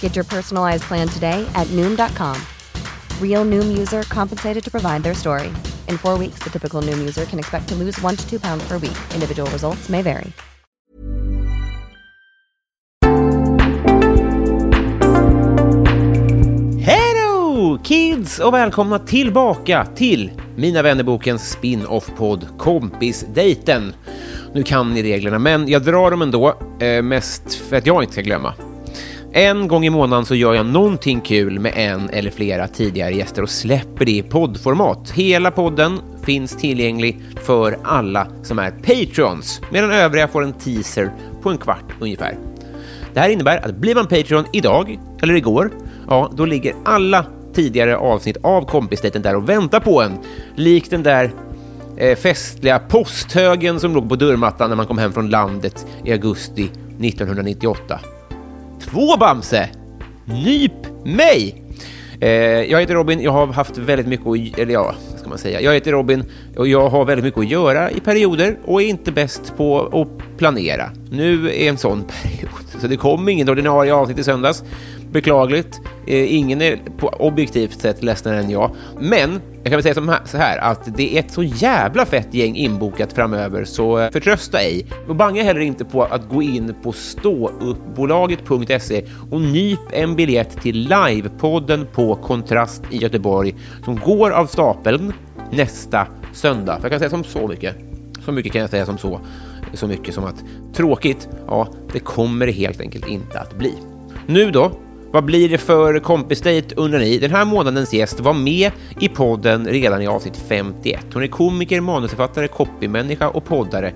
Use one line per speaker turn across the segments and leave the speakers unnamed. Get your personalized plan today at Noom.com. Real Noom user compensated to provide their story. In four weeks, the typical Noom user can expect to lose one to two pounds per week. Individual results may vary.
Hello kids och välkomna tillbaka till Mina vännerbokens spin-off-podd Kompisdejten. Nu kan ni reglerna, men jag drar dem ändå, eh, mest för att jag inte ska glömma. En gång i månaden så gör jag någonting kul med en eller flera tidigare gäster och släpper det i poddformat. Hela podden finns tillgänglig för alla som är Patreons, medan övriga får en teaser på en kvart ungefär. Det här innebär att blir man Patreon idag, eller igår, ja, då ligger alla tidigare avsnitt av kompisdejten där och väntar på en. Likt den där eh, festliga posthögen som låg på dörrmattan när man kom hem från landet i augusti 1998. Två Bamse! Nyp mig! Eh, jag heter Robin, jag har haft väldigt mycket att, eller ja, vad ska man säga? Jag heter Robin och jag har väldigt mycket att göra i perioder och är inte bäst på att planera. Nu är en sån period, så det kom inget ordinarie avsnitt i söndags. Beklagligt. Eh, ingen är på objektivt sett ledsnare än jag. Men jag kan väl säga som här- så här att det är ett så jävla fett gäng inbokat framöver så eh, förtrösta ej. Och banga heller inte på att gå in på ståuppbolaget.se och nyp en biljett till livepodden på Kontrast i Göteborg som går av stapeln nästa söndag. För jag kan säga som så mycket. Så mycket kan jag säga som så. Så mycket som att tråkigt, ja, det kommer det helt enkelt inte att bli. Nu då? Vad blir det för kompisdejt undrar ni? Den här månadens gäst var med i podden redan i avsnitt 51. Hon är komiker, manusförfattare, copymänniska och poddare.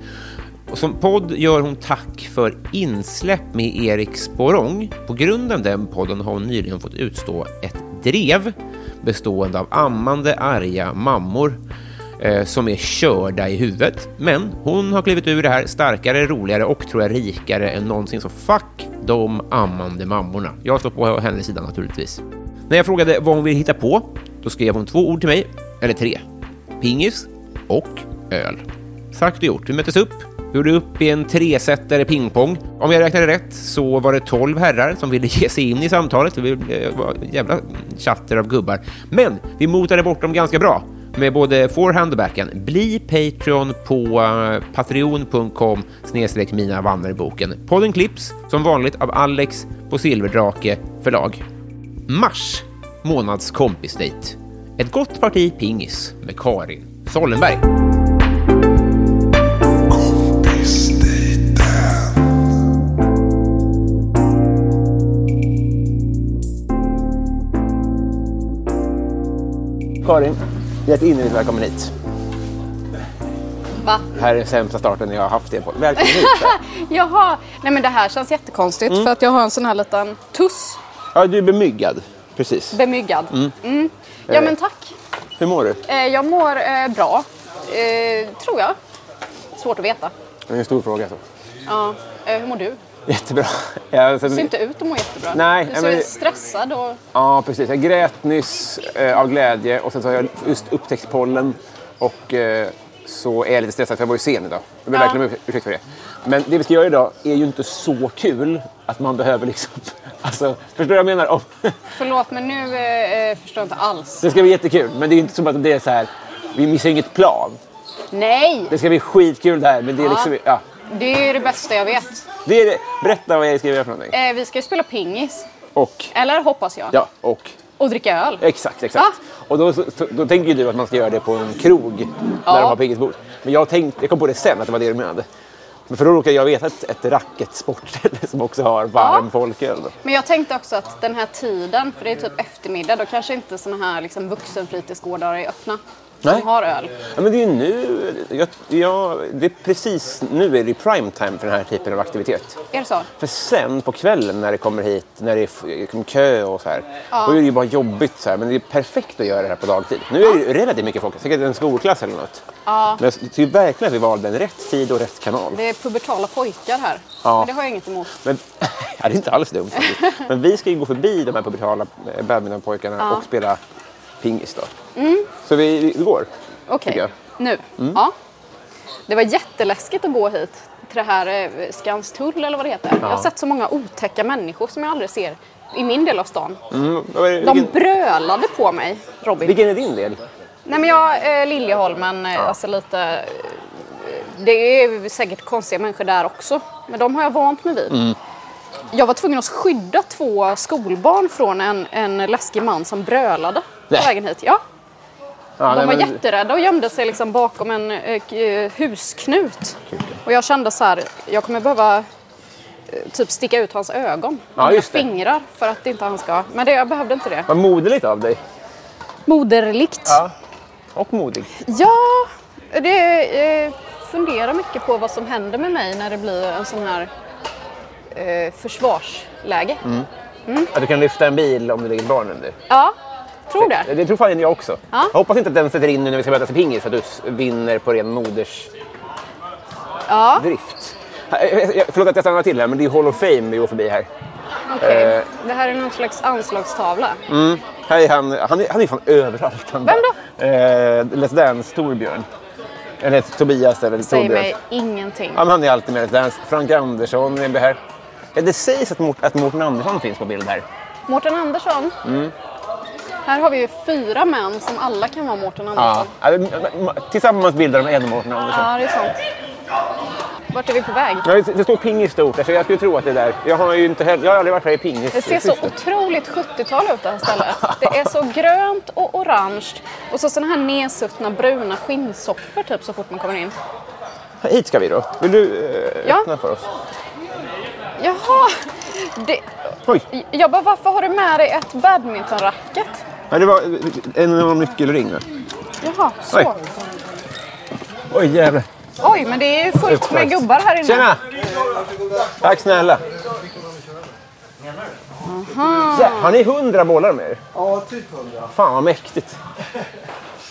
Och som podd gör hon Tack för insläpp med Erik Sporrong. På grund av den podden har hon nyligen fått utstå ett drev bestående av ammande, arga mammor eh, som är körda i huvudet. Men hon har klivit ur det här starkare, roligare och tror jag rikare än någonsin. Så fuck de ammande mammorna. Jag står på hennes sida naturligtvis. När jag frågade vad hon ville hitta på, då skrev hon två ord till mig, eller tre. Pingis och öl. Sagt och gjort, vi möttes upp, gjorde upp i en tresetare pingpong. Om jag räknade rätt så var det tolv herrar som ville ge sig in i samtalet. Vi eh, var jävla chatter av gubbar. Men vi motade bort dem ganska bra med både forehand och backhand. Bli Patreon på eh, patreon.com snedstreck mina vannerboken. Podden klipps som vanligt av Alex på Silverdrake förlag. Mars månads kompisdejt. Ett gott parti pingis med Karin Sollenberg. Karin, hjärtinnerligt välkommen hit.
Va?
Här är den sämsta starten jag har haft er på. Välkommen hit.
Jaha, nej men det här känns jättekonstigt
Mm.
för att jag har en sån här liten tuss
Ja, du är bemyggad. Precis.
bemyggad. Mm.
Eh.
Ja men tack.
Hur mår du?
Eh, Jag mår eh, bra, eh, tror jag. Svårt att veta.
Det är en stor fråga. Så.
Ja. Eh, hur mår du?
Jättebra. Jag,
Du ser inte ut att må jättebra.
Nej,
du
nej,
ser
men-
stressad och...
Ja, precis. Jag grät nyss eh, av glädje och sen så har jag just upptäckt pollen och eh, så är jag lite stressad för jag var ju sen idag. Jag ber
Ja.
verkligen om ur- ursäkt för det. Men det vi ska göra idag är ju inte så kul att man behöver liksom... Alltså, förstår du vad jag menar? Om-
Förlåt men nu eh, eh, förstår jag inte alls.
Det ska bli jättekul, men det är ju inte som att det är så här... Vi missar ju inget plan.
Nej!
Det ska bli skitkul det här, men det är liksom... Ja.
Det är det bästa jag vet.
Det är det. Berätta vad jag ska göra för någonting.
Eh, vi ska ju spela pingis.
Och...
Eller hoppas jag.
Ja, och...
Och dricka öl.
Exakt, exakt.
Va?
Och då, så- så- då tänker ju du att man ska göra det på en krog
Ja.
där de har pingisbord. Men jag, tänkte, jag kom på det sen att det var det du menade. Men för då råkade jag veta ett, ett racketsportställe som också har varm
Ja.
folköl.
Men jag tänkte också att den här tiden, för det är typ eftermiddag, då kanske inte såna här liksom vuxenfritidsgårdar är öppna.
Nej.
Som har öl.
Ja, men det är ju nu, jag, jag, det är precis nu är det prime time för den här typen av aktivitet.
Är det så?
För sen på kvällen när det kommer hit, när det är f- liksom kö och så här, då är det ju bara jobbigt så här. Men det är perfekt att göra det här på dagtid. Nu är det ju relativt mycket folk, säkert en skolklass eller något.
Ja.
Men jag tycker verkligen att vi valde en rätt tid och rätt kanal.
Det är pubertala pojkar här.
Ja.
Men det har jag inget emot.
Men, ja, det är inte alls dumt faktiskt. Men vi ska ju gå förbi de här pubertala eh, badmintonpojkarna och spela pingis då.
Mm.
Så vi, vi går. tycker
Okej,
jag. Mm.
nu. Ja. Det var jätteläskigt att gå hit till det här eh, Skanstull eller vad det heter. Jag har sett så många otäcka människor som jag aldrig ser i min del av stan.
Mm, vad är det-
De
vilken,
brölade på mig, Robin.
vilken är din del?
Nej men jag, eh, Liljeholmen, eh, alltså lite... eh, Det är ju säkert konstiga människor där också. Men de har jag vant mig vid.
Mm.
Jag var tvungen att skydda två skolbarn från en, en läskig man som brölade på
Nej.
vägen hit. Ja,
Ja,
de
nej,
var
men-
jätterädda och gömde sig liksom bakom en eh, k- eh, husknut. Och jag kände så här, jag kommer behöva eh, typ sticka ut hans ögon
Ja,
med mina
just det.
fingrar för att inte han ska... Men det, jag behövde inte det.
Vad moderligt av dig.
Moderligt.
Och modig.
Ja, det eh, funderar mycket på vad som händer med mig när det blir en sån här eh, försvarsläge.
Mm. Att du kan lyfta en bil om du lägger barn under.
Ja, tror det.
Det tror fan jag också.
Ja.
Jag hoppas inte att den sätter in nu när vi ska mötas i pingis, att du s- vinner på ren moders
Ja,
drift. Eh, eh, Förlåt att jag stannar till här, men det är Hall of Fame vi går förbi här.
okej.
eh. Mm,
Det här är någon slags anslagstavla.
Här är han, han är, han är fan överallt. Han
Vem
då? Eh, Let's Dance, Torbjörn. Eller Tobias eller
Säger
Torbjörn.
mig ingenting.
Ja, men han är alltid med i Let's Dance. Frank Andersson är här. Ja, det sägs att, Mort, att Mårten Andersson finns på bild här.
Mårten Andersson.
Mm.
Här har vi ju fyra män som alla kan vara Mårten
Ja.
Andersson.
Ja, men- men- men- Tillsammans bildar de en Mårten Andersson.
Ja, det är sant. Vart är vi på väg?
Ja, det- det står pingis stort här, så jag skulle tro att det är där. Jag har ju inte heller, jag har aldrig varit här i pingis.
Det ser så otroligt 70-tal ut det här stället. Det är så grönt och orange och så såna här nedsuttna bruna skinnsoffor typ så fort man kommer in.
Hit ska vi då. Vill du eh,
Ja.
öppna för oss?
Jaha! Det...
Oj!
Jag bara, varför har du med dig ett badmintonracket?
Ja, det var en enorm nyckelring. va?
Jaha, så.
Oj.
Oj.
Oj jävlar.
men det är ju fullt med
Utmärkt.
gubbar här inne.
Tjena! Tack snälla. Ja, har ni hundra bollar med er?
Ja, typ 100.
Fan vad mäktigt.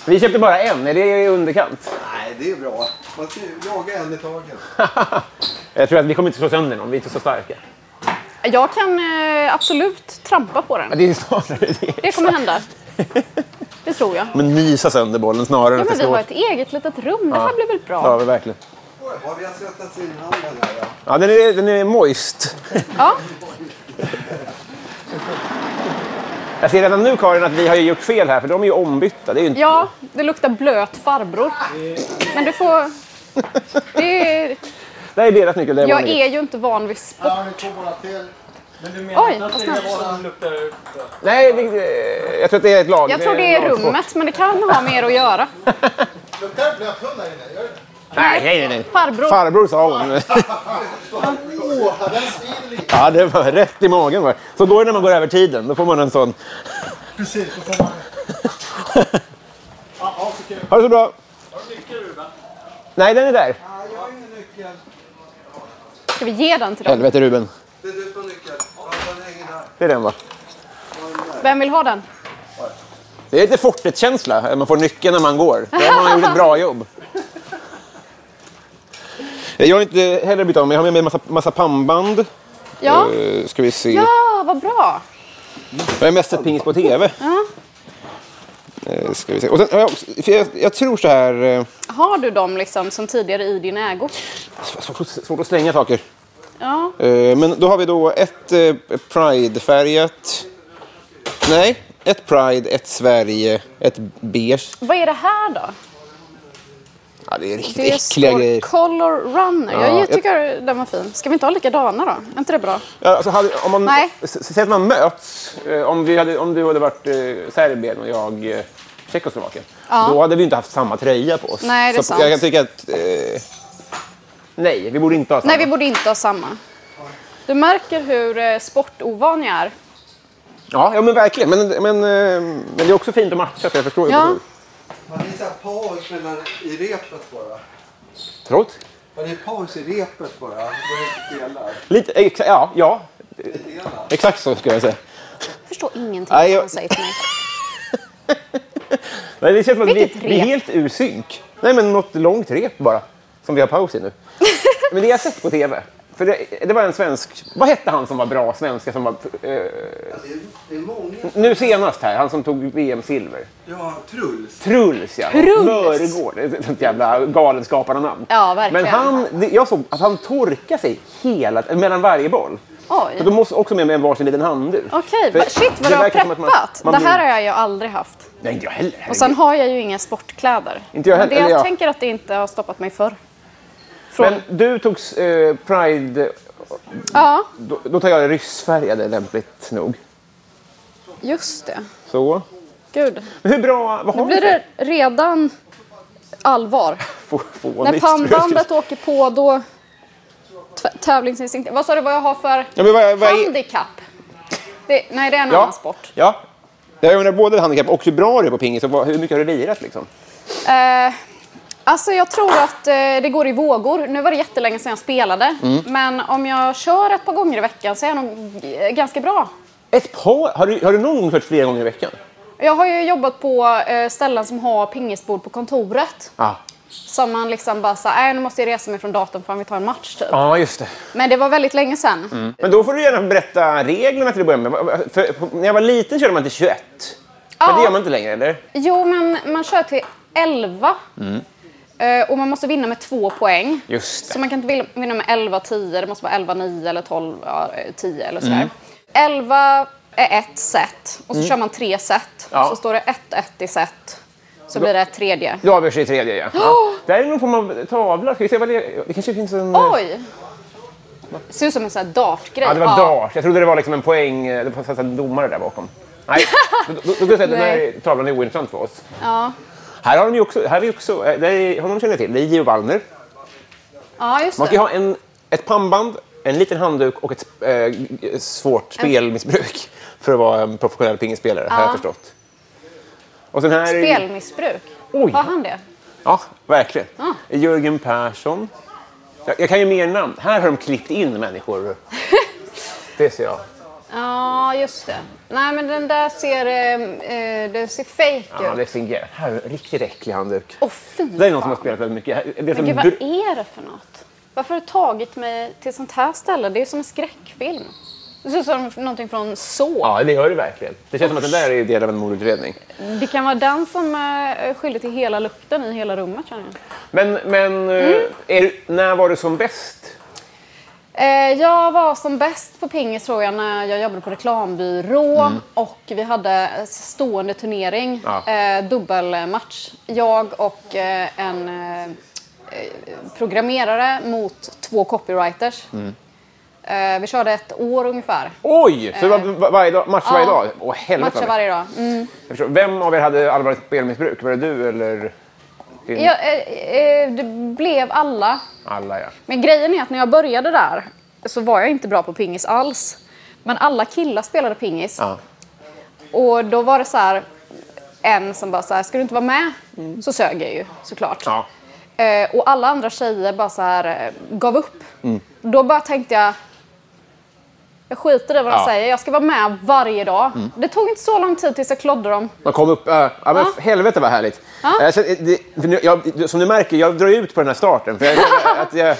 Vi köpte bara en, är det i underkant?
Nej, det är bra. Man ska ju jaga en i taget.
jag tror att vi kommer inte slå sönder någon, vi är inte så starka.
Jag kan eh, absolut trampa på
Ja,
den.
Det är snarare
Det kommer hända. Det tror jag.
Men mysa sönder bollen snarare
Ja,
än
men
att
vi
det
har
slår.
ett eget litet rum. Det här blir väl
Mm. Ja,
bra?
men verkligen.
Har vi svettats in handen här? Ja.
Ja, den är, den är moist.
Ja.
Jag ser redan nu Karin att vi har ju gjort fel här för de är ju ombytta. Det är ju inte...
Ja, det luktar blöt farbror. Men du får... Det är...
Det här är deras nyckel. Det är vår
Jag
nyckel.
är ju inte van vid sport.
Ja, det kom bara till. Men du menar
Oj,
inte
vad
att det
snabbt.
är vad som luktar ute?
Nej, det, eh, jag tror att det är ett lag.
Jag tror det
en
är
lagsport.
rummet, men det kan ha mer att göra.
Luktar det blöthund här inne? Gör det?
Nej, nej, nej, nej.
Farbror.
Farbror sa hon.
Åh, den svider lite.
Ja, det var rätt i magen. Var. det. Så går det när man går över tiden. Då får man en sån.
Precis, då får man... Ja, ja, så kul.
Ha det så bra.
Har du nyckel Ruben?
Nej, den är där.
Nej, jag har ingen nyckel.
Ska vi ge den till dem?
Helvete Ruben.
Det är du på nyckeln. Ja, den hänger där.
Det är den va?
Vem vill ha den?
Det är lite fortet-känsla. Man får nyckeln när man går. Då har man gjort ett bra jobb. Eh, Jag har inte heller bytt av mig. Jag har med mig en massa, massa pannband.
Ja,
Eh, Ska vi se.
ja vad bra.
Jag har mest sett pingis på tv.
Ja.
Eh, Ska vi se. Och sen, har jag, också- för jag, jag tror så här... eh,
Har du dem liksom som tidigare i din ägo?
Svårt att- svårt att slänga saker.
Ja.
Eh, Men då har vi då ett eh, Pride-färgat. Nej, ett Pride, ett Sverige, ett beige.
Vad är det här då?
Ja, det är riktigt
Det
äckliga
står
grejer.
Color Runner.
Ja,
jag,
jag-
tycker den var fin. Ska vi inte ha likadana då? Är inte det bra?
Ja, alltså, hade, om man,
Nej.
s- s- Säg att man möts. Eh, om, vi hade, om du hade varit eh, Serbien och jag eh, Tjeckoslovakien.
Ja.
Då hade vi inte haft samma tröja på oss.
Nej, det är
Så
sant.
Jag kan tycka att... Eh, nej, vi borde inte ha samma.
Nej, vi borde inte ha samma. Du märker hur eh, sportovan jag är.
ja, ja, men verkligen. Men, men, eh, men det är också fint att matcha, så jag förstår ju.
Ja.
Har ni så här paus mellan, i repet bara?
Förlåt?
Har ni paus i repet bara? Då ni spelar?
Lite, exa, ja, ja,
Lite grann.
exakt så skulle jag säga.
Jag förstår ingenting
Nej, jag-
han säger till mig.
Men det känns som att vi,
Vilket
vi är
rep?
helt ur synk. Nej, men något långt rep bara, som vi har paus i nu. men det jag har sett på tv, för det, det var en svensk... Vad hette han som var bra svenska som var... Eh,
Ja, Det är, det är många.
nu senast här, han som tog VM-silver.
Ja, Truls.
Truls, ja.
Truls!
Mörgård. Det är ett sånt jävla galenskaparnamn.
Ja, verkligen.
Men han, det- jag såg att han torkade sig hela, mellan varje boll.
Oj.
Så de måste också med mig en varsin liten handduk.
Okej,
För
va- shit vad du har
verkar som att
preppat.
man- man
det
blir-
här har jag ju aldrig haft.
Nej, inte jag heller.
Och sen har jag ju inga sportkläder.
Inte jag
Men
heller,
Det,
eller
jag
ja.
tänker att det inte har stoppat mig förr. Från...
Men du tog eh, Pride...
Ja,
Då, då tar jag det ryssfärgade lämpligt nog.
just det.
Så.
Gud.
Men hur bra... Vad
Nu
har
blir
du
det redan allvar.
för fånigt?
När pannbandet åker på då... tv- Tävlingsinstinkt. Vad sa du vad jag har för
Ja, men vad, vad är...
handikapp? Det, nej, det är en
Ja.
annan sport.
ja. Jag undrar både handikapp och hur bra du är på pingis och vad, hur mycket har du lirat liksom?
Eh, alltså jag tror att eh, det går i vågor. Nu var det jättelänge sedan jag spelade.
Mm.
Men om jag kör ett par gånger i veckan så är jag nog g- ganska bra.
Ett par? Har du, har du någon gång kört flera gånger i veckan?
Jag har ju jobbat på eh, ställen som har pingisbord på kontoret.
Ja,
Som man liksom bara sa, nej nu måste jag resa mig från datorn för att vi tar en match typ.
ah. just det.
Men det var väldigt länge sedan.
Mm. Men då får du gärna berätta reglerna till att börja med. För, för, när jag var liten körde man till 21. Men
Ja.
det gör man inte längre, eller?
Jo, men man kör till 11.
Mm.
Eh, och man måste vinna med två poäng.
Just det.
Så man kan inte vil- vinna med 11, 10. Det måste vara 11, 9 eller 12, ja, eh, 10 eller
Mm.
sådär. 11 är ett set och så kör man tre set.
Ja.
Så står det 1, 1 i set. Så blir det ett tredje.
Då avgörs det i tredje, ja. ja. Det här är någon form av tavla. Ska vi se vad det... Det kanske finns en...
Oj! Det ser ut som en sån här dartgrej.
Ja, det var dart. Jag trodde det var liksom en poäng. Det fanns en domare där bakom. Nej, då, då, då skulle jag säga att den här
Nej.
tavlan är ointressant för oss.
Ja.
Här har de ju också, här är ju också eh, där är, honom känner jag till, det är Gio Wallner.
ja, just
Man ska
det.
ju ha en, ett pannband, en liten handduk och ett eh, g- svårt spelmissbruk för att vara en professionell pingisspelare, har jag förstått. Och sen här... är ju-
Spelmissbruk.
Oj.
Har han det?
Ja, verkligen. Jörgen Persson. Jag, jag kan ju mer namn. Här har de klippt in människor. det ser jag.
Ja, just det. Nej, men den där ser, eh, eh, den ser fejk
Ja,
ut.
det fingerar. Här är en riktigt äcklig handduk.
Åh, fy
Det är någon som har
fan.
spelat väldigt mycket. Det är
Men
som
gud, vad
br-
är det för något? Varför har du tagit mig till sånt här ställe? Det är ju som en skräckfilm. Det ser ut som någonting från så.
ja, det gör det verkligen. Det känns som att den där är del av en mordutredning.
Det kan vara den som eh, är skyldig till hela lukten i hela rummet, känner jag.
Men, men eh,
Mm.
är, du- när var du som bäst?
Eh, jag var som bäst på pingis tror jag när jag jobbade på reklambyrå och vi hade stående turnering,
Mm. Ja.
eh, dubbelmatch. Jag och eh, en eh, eh, programmerare mot två copywriters.
Mm.
Eh, vi körde ett år ungefär.
Oj! Så det var va- varje dag, match varje
Eh, ja.
dag? Åh, helvete.
Matchar varje dag. Mm.
Jag förstår. Vem av er hade allvarligt spelmissbruk? Var det du eller din?
Jag, eh, eh, det blev alla.
alla? Ja.
Men grejen är att när jag började där så var jag inte bra på pingis alls. Men alla killar spelade pingis.
Ja.
Och då var det så här en som bara så här, ska du inte vara med? Så sög jag ju såklart.
Mm. Ja.
Eh, och alla andra tjejer bara så här eh, gav upp.
Mm.
Då bara tänkte jag, jag skiter i vad de
Ja. Mm.
säger, jag ska vara med varje dag. Det tog inte så lång tid tills jag klodde dem.
Man kom upp... Äh, ja, men
Ja.
f- Helvete vad härligt.
Ja.
Jag känner- det, för nu, jag, som du märker, jag drar ut på den här starten. För, jag, att jag,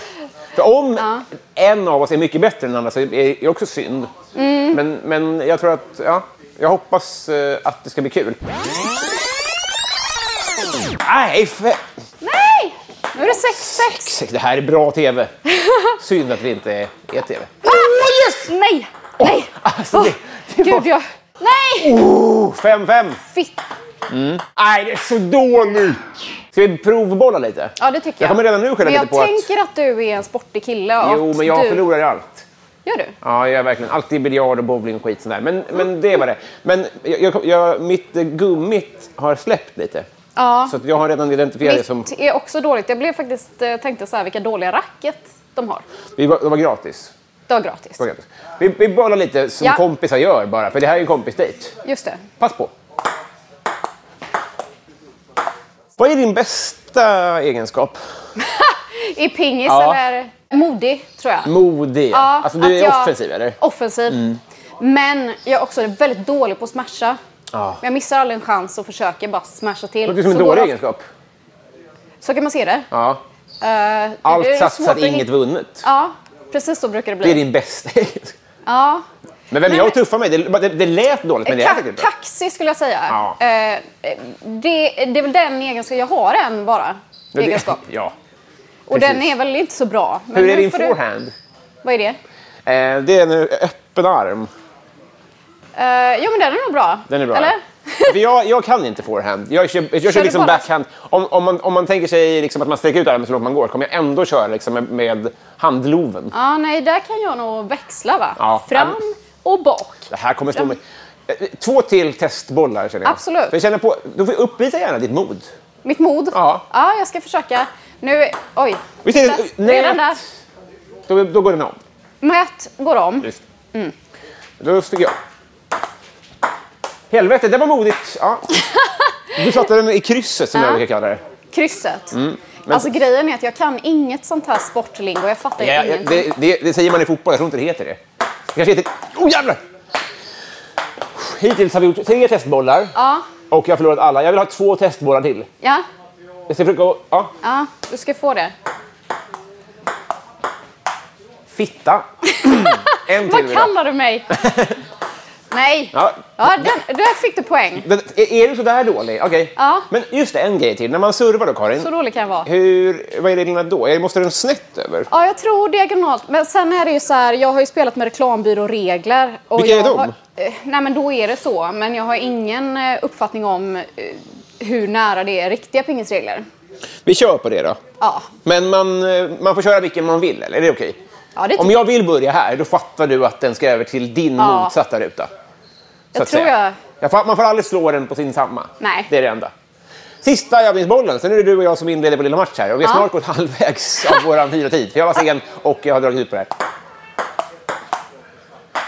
för om en av oss är mycket bättre än den andra så är det också synd.
Mm.
Men, men jag tror att... Ja, jag hoppas eh, att det ska bli kul. Nej, fe-
Nej! Nu är det 6-6.
det här är bra TV. Synd att vi inte är, är TV.
Ah! Nej! Nej!
Alltså, det, det
Gud,
var
jag... Nej!
oh, 5-5.
Fitt.
Nej, det är så dåligt! Ska vi provbolla lite?
Ja, det tycker jag.
Jag kommer redan nu skälla
Men
lite
jag
på att-
tänker att... du är en sportig kille. och
Jo,
att
men jag
du...
förlorar ju allt.
Gör du?
Ja, jag är verkligen. Alltid biljard och bowling och skit sånt där. Men,
Mm.
men det var det. Men jag, jag, jag, mitt eh, gummit har släppt lite.
Ja.
Så att jag har redan identifierat det
Mitt
som...
är också dåligt. Jag blev faktiskt, eh, tänkte så här, vilka dåliga racket de har.
Det var, det var gratis.
Det var gratis.
Det var gratis. Vi, vi bollar lite som
Ja.
kompisar gör bara, för det här är en kompisdejt.
Just det.
Pass på. Vad är din bästa egenskap?
I pingis
Ja.
eller modig, tror jag.
Modig.
Ja,
alltså, du
att
är
jag-
offensiv, eller? Mm.
Offensiv. Men jag är också väldigt dålig på att smasha.
Ja.
Jag missar aldrig en chans och försöker bara smasha till.
Det låter som en
Så går
dålig
det-
egenskap.
Så kan man se det.
Ja.
Eh, det
Allt
är svårt
satsat,
att hitta-
inget vunnet.
Ja, precis så brukar det bli.
Det är din bästa egenskap.
Ja.
Men vem
Nej,
jag
men-
tuffar mig, det, det, det lät dåligt, men det är
Ka-
faktiskt bra.
kaxig skulle jag säga.
Ja.
Eh, det, det är väl den egenskapen, jag har en bara.
Ja, det-
Egenskap.
Ja.
Och
precis.
den är väl inte så bra. Men
Hur är
nu
din
får du-
forehand?
Vad är det?
Eh, det är en öppen arm.
Eh, jo men den är nog bra.
Den är bra.
Eller?
För jag, jag kan inte forehand. Jag kör, jag kör,
Kör du
liksom
bara-
backhand. Om, om, man, om man tänker sig liksom att man sträcker ut armen så långt man går kommer jag ändå köra liksom med, med handloven.
Ja, nej, där kan jag nog växla va?
Ja,
Fram
ja,
och bak.
Det här kommer stå mig... Eh, Två till testbollar känner jag.
Absolut.
För jag känner på, du får uppvisa gärna ditt mod.
Mitt mod.
Ja.
ja, jag ska försöka. Nu, oj.
Visst är det-
Där,
nej.
Redan där.
Då, då går den om.
Mät går om.
Just.
Mm.
Då fick jag. Helvete, det var modigt. Ja. Du satte den i krysset som jag
Ja.
brukar kalla det.
Krysset.
Mm.
Alltså grejen är att jag kan inget sånt här sportlingo. Jag fattar
Ja, ja,
ingenting.
det, det, det säger man i fotboll, jag tror inte det heter det. Det kanske heter... Oh jävlar! Hittills har vi gjort tre testbollar
Ja,
och jag har förlorat alla. Jag vill ha två testbollar till.
ja,
Jag ska försöka... Ja.
ja. Du ska få det.
Fitta. en till
Vad
vill jag.
kallar du mig? nej.
Ja.
Ja, den, där fick du poäng.
Den- Är, är du sådär dålig? Okej.
Ja.
Men just det, en grej till. När man survar då, Karin.
Så dålig kan jag vara.
Hur, vad är reglerna då? Är- Måste den snett över?
Ja, jag tror diagonalt. Men sen är det ju så här, jag har ju spelat med reklambyråregler. Och
Vilka är
jag
de?
Har, eh, nej, men då är det så. Men jag har ingen eh, uppfattning om eh, hur nära det är riktiga pingisregler.
Vi kör på det då.
Ja,
Men man, eh, man får köra vilken man vill, eller? Är det okej?
ja det
Om
tror
jag vill börja här, då fattar du att den ska över till din
Ja.
motsatta ruta. så
jag.
att
tror
säga.
jag.
Jag får, man får aldrig slå den på sin samma.
Nej.
Det är det enda. Sista övningsbollen. Sen är det du och jag som inleder vår lilla match här. Och vi har
Ja.
snart gått halvvägs av vår hyrotid. För jag var sen och jag har dragit ut på det här.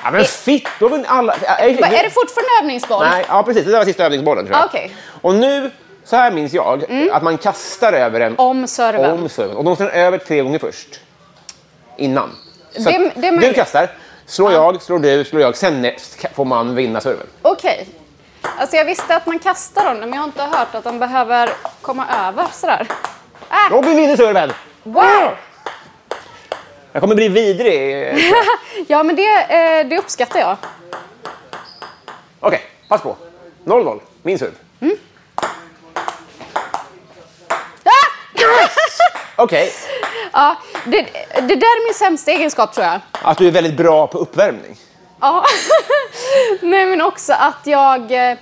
Ja, men fitt! Då vinner alla... Ja, Är,
Va, är det fortfarande övningsboll?
Nej, ja precis. Det där var sista övningsbollen tror jag.
Ah, okej. Mm.
Och nu, så här minns jag, att man kastar över den
Om serven.
om serven. Och de slår den över tre gånger först. Innan. Så
Det-
att
det är
du
möjligt.
kastar, slår jag, slår du, slår jag. Sen näst får man vinna serven.
Okej. Alltså jag visste att man kastar den, men jag har inte hört att den behöver komma över sådär. Ah,
Robin vinner serven!
wow!
Jag kommer bli vidrig. Okej,
Ja, men det, eh, det uppskattar jag.
pass på. 0-0, min serv.
Ah!
Okej,
Ja, det, det där är min sämsta egenskap tror jag.
att du är väldigt bra på uppvärmning.
Ja. Nej, men också att jag, eh,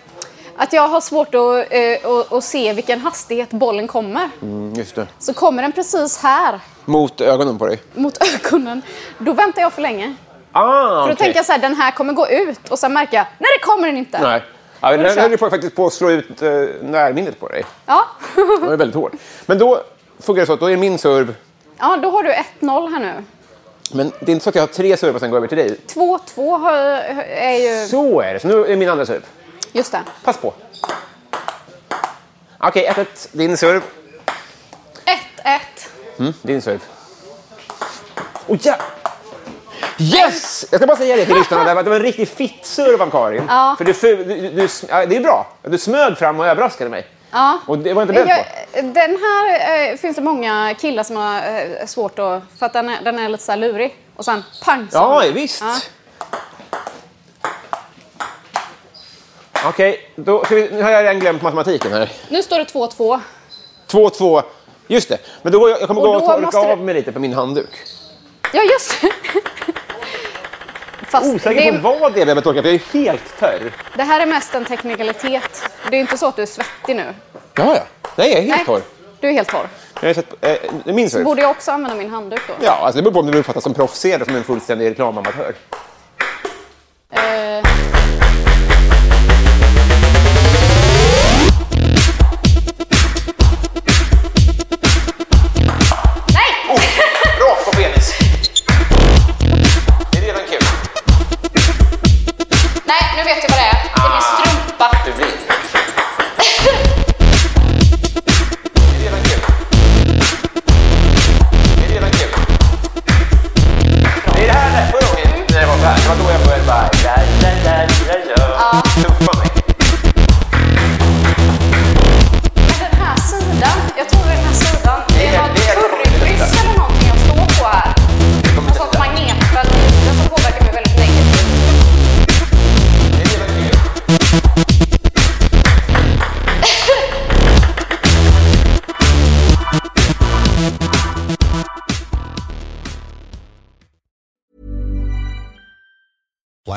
att jag har svårt att, eh, att, att se vilken hastighet bollen kommer.
Mm, just det.
Så kommer den precis här
Mot ögonen på dig.
mot ögonen, då väntar jag för länge.
Ah,
För då
okej.
tänker jag så här, den här kommer gå ut och sen märker jag, nej det kommer den inte.
Nej. Ja, men
Då är det
den höll ju
kört.
på, faktiskt på att slå ut eh, närminnet på dig.
Ja.
Den var väldigt hård. Men då funkar det så att då är min serv...
ja, då har du 1-0 här nu.
Men det är inte så att jag har tre servar och sen går över till dig.
2-2 har- är ju...
Så är det. Så nu är min andra serv.
Just det.
Pass på. Okej, 1-1. Din serv.
1-1.
Mm, din serv. Oh, ja. Yes! Jag ska bara säga det till lyssnarna. där, att Det var en riktig fitt-serv av Karin.
Ja.
För du, fu- du, du, ja, det är bra. Du smög fram och överraskade mig.
Ja.
Och det var jag inte beredd på.
Jag- Den här eh, finns det många killar som har eh, svårt att... För att den är, den är lite så här lurig. Och sen pang! så-
Ja, visst.
Ja.
Okej, då ska vi, nu har jag redan glömt matematiken här.
Nu står det 2-2.
2-2. Just det. Men då går jag, jag kommer
Och
gå och
då
torka
måste du-
av mig lite på min handduk.
Ja, just det. Fast det,
Osäker på vad det är jag behöver torka, för jag är helt torr.
det här är mest en teknikalitet. Det är inte så att du är svettig nu.
Ja, ja. Nej, jag är helt
Nej,
torr.
Du är helt torr.
Jag har sett, eh, nu minns du?
Borde jag också använda min handduk då?
Ja, alltså det beror på om du uppfattas som proffs eller som en fullständig reklamamatör.
Eh,
Rakt på penis! Det är redan kul.
nej, nu vet jag vad det är. Det är min strumpa.
Publik. Det är redan kul. Det är redan kul. Det är det här förra gången när jag var så här. Det var då jag började bara... La, la, la, la, la. Tuffa mig.
Men Den här sidan, jag tror det är den här sidan. Det
Det
är
är-
någon
det är-
currybryss eller någonting jag står på här. Något sånt magnetfält det som påverkar mig väldigt negativt.
Det är redan kul.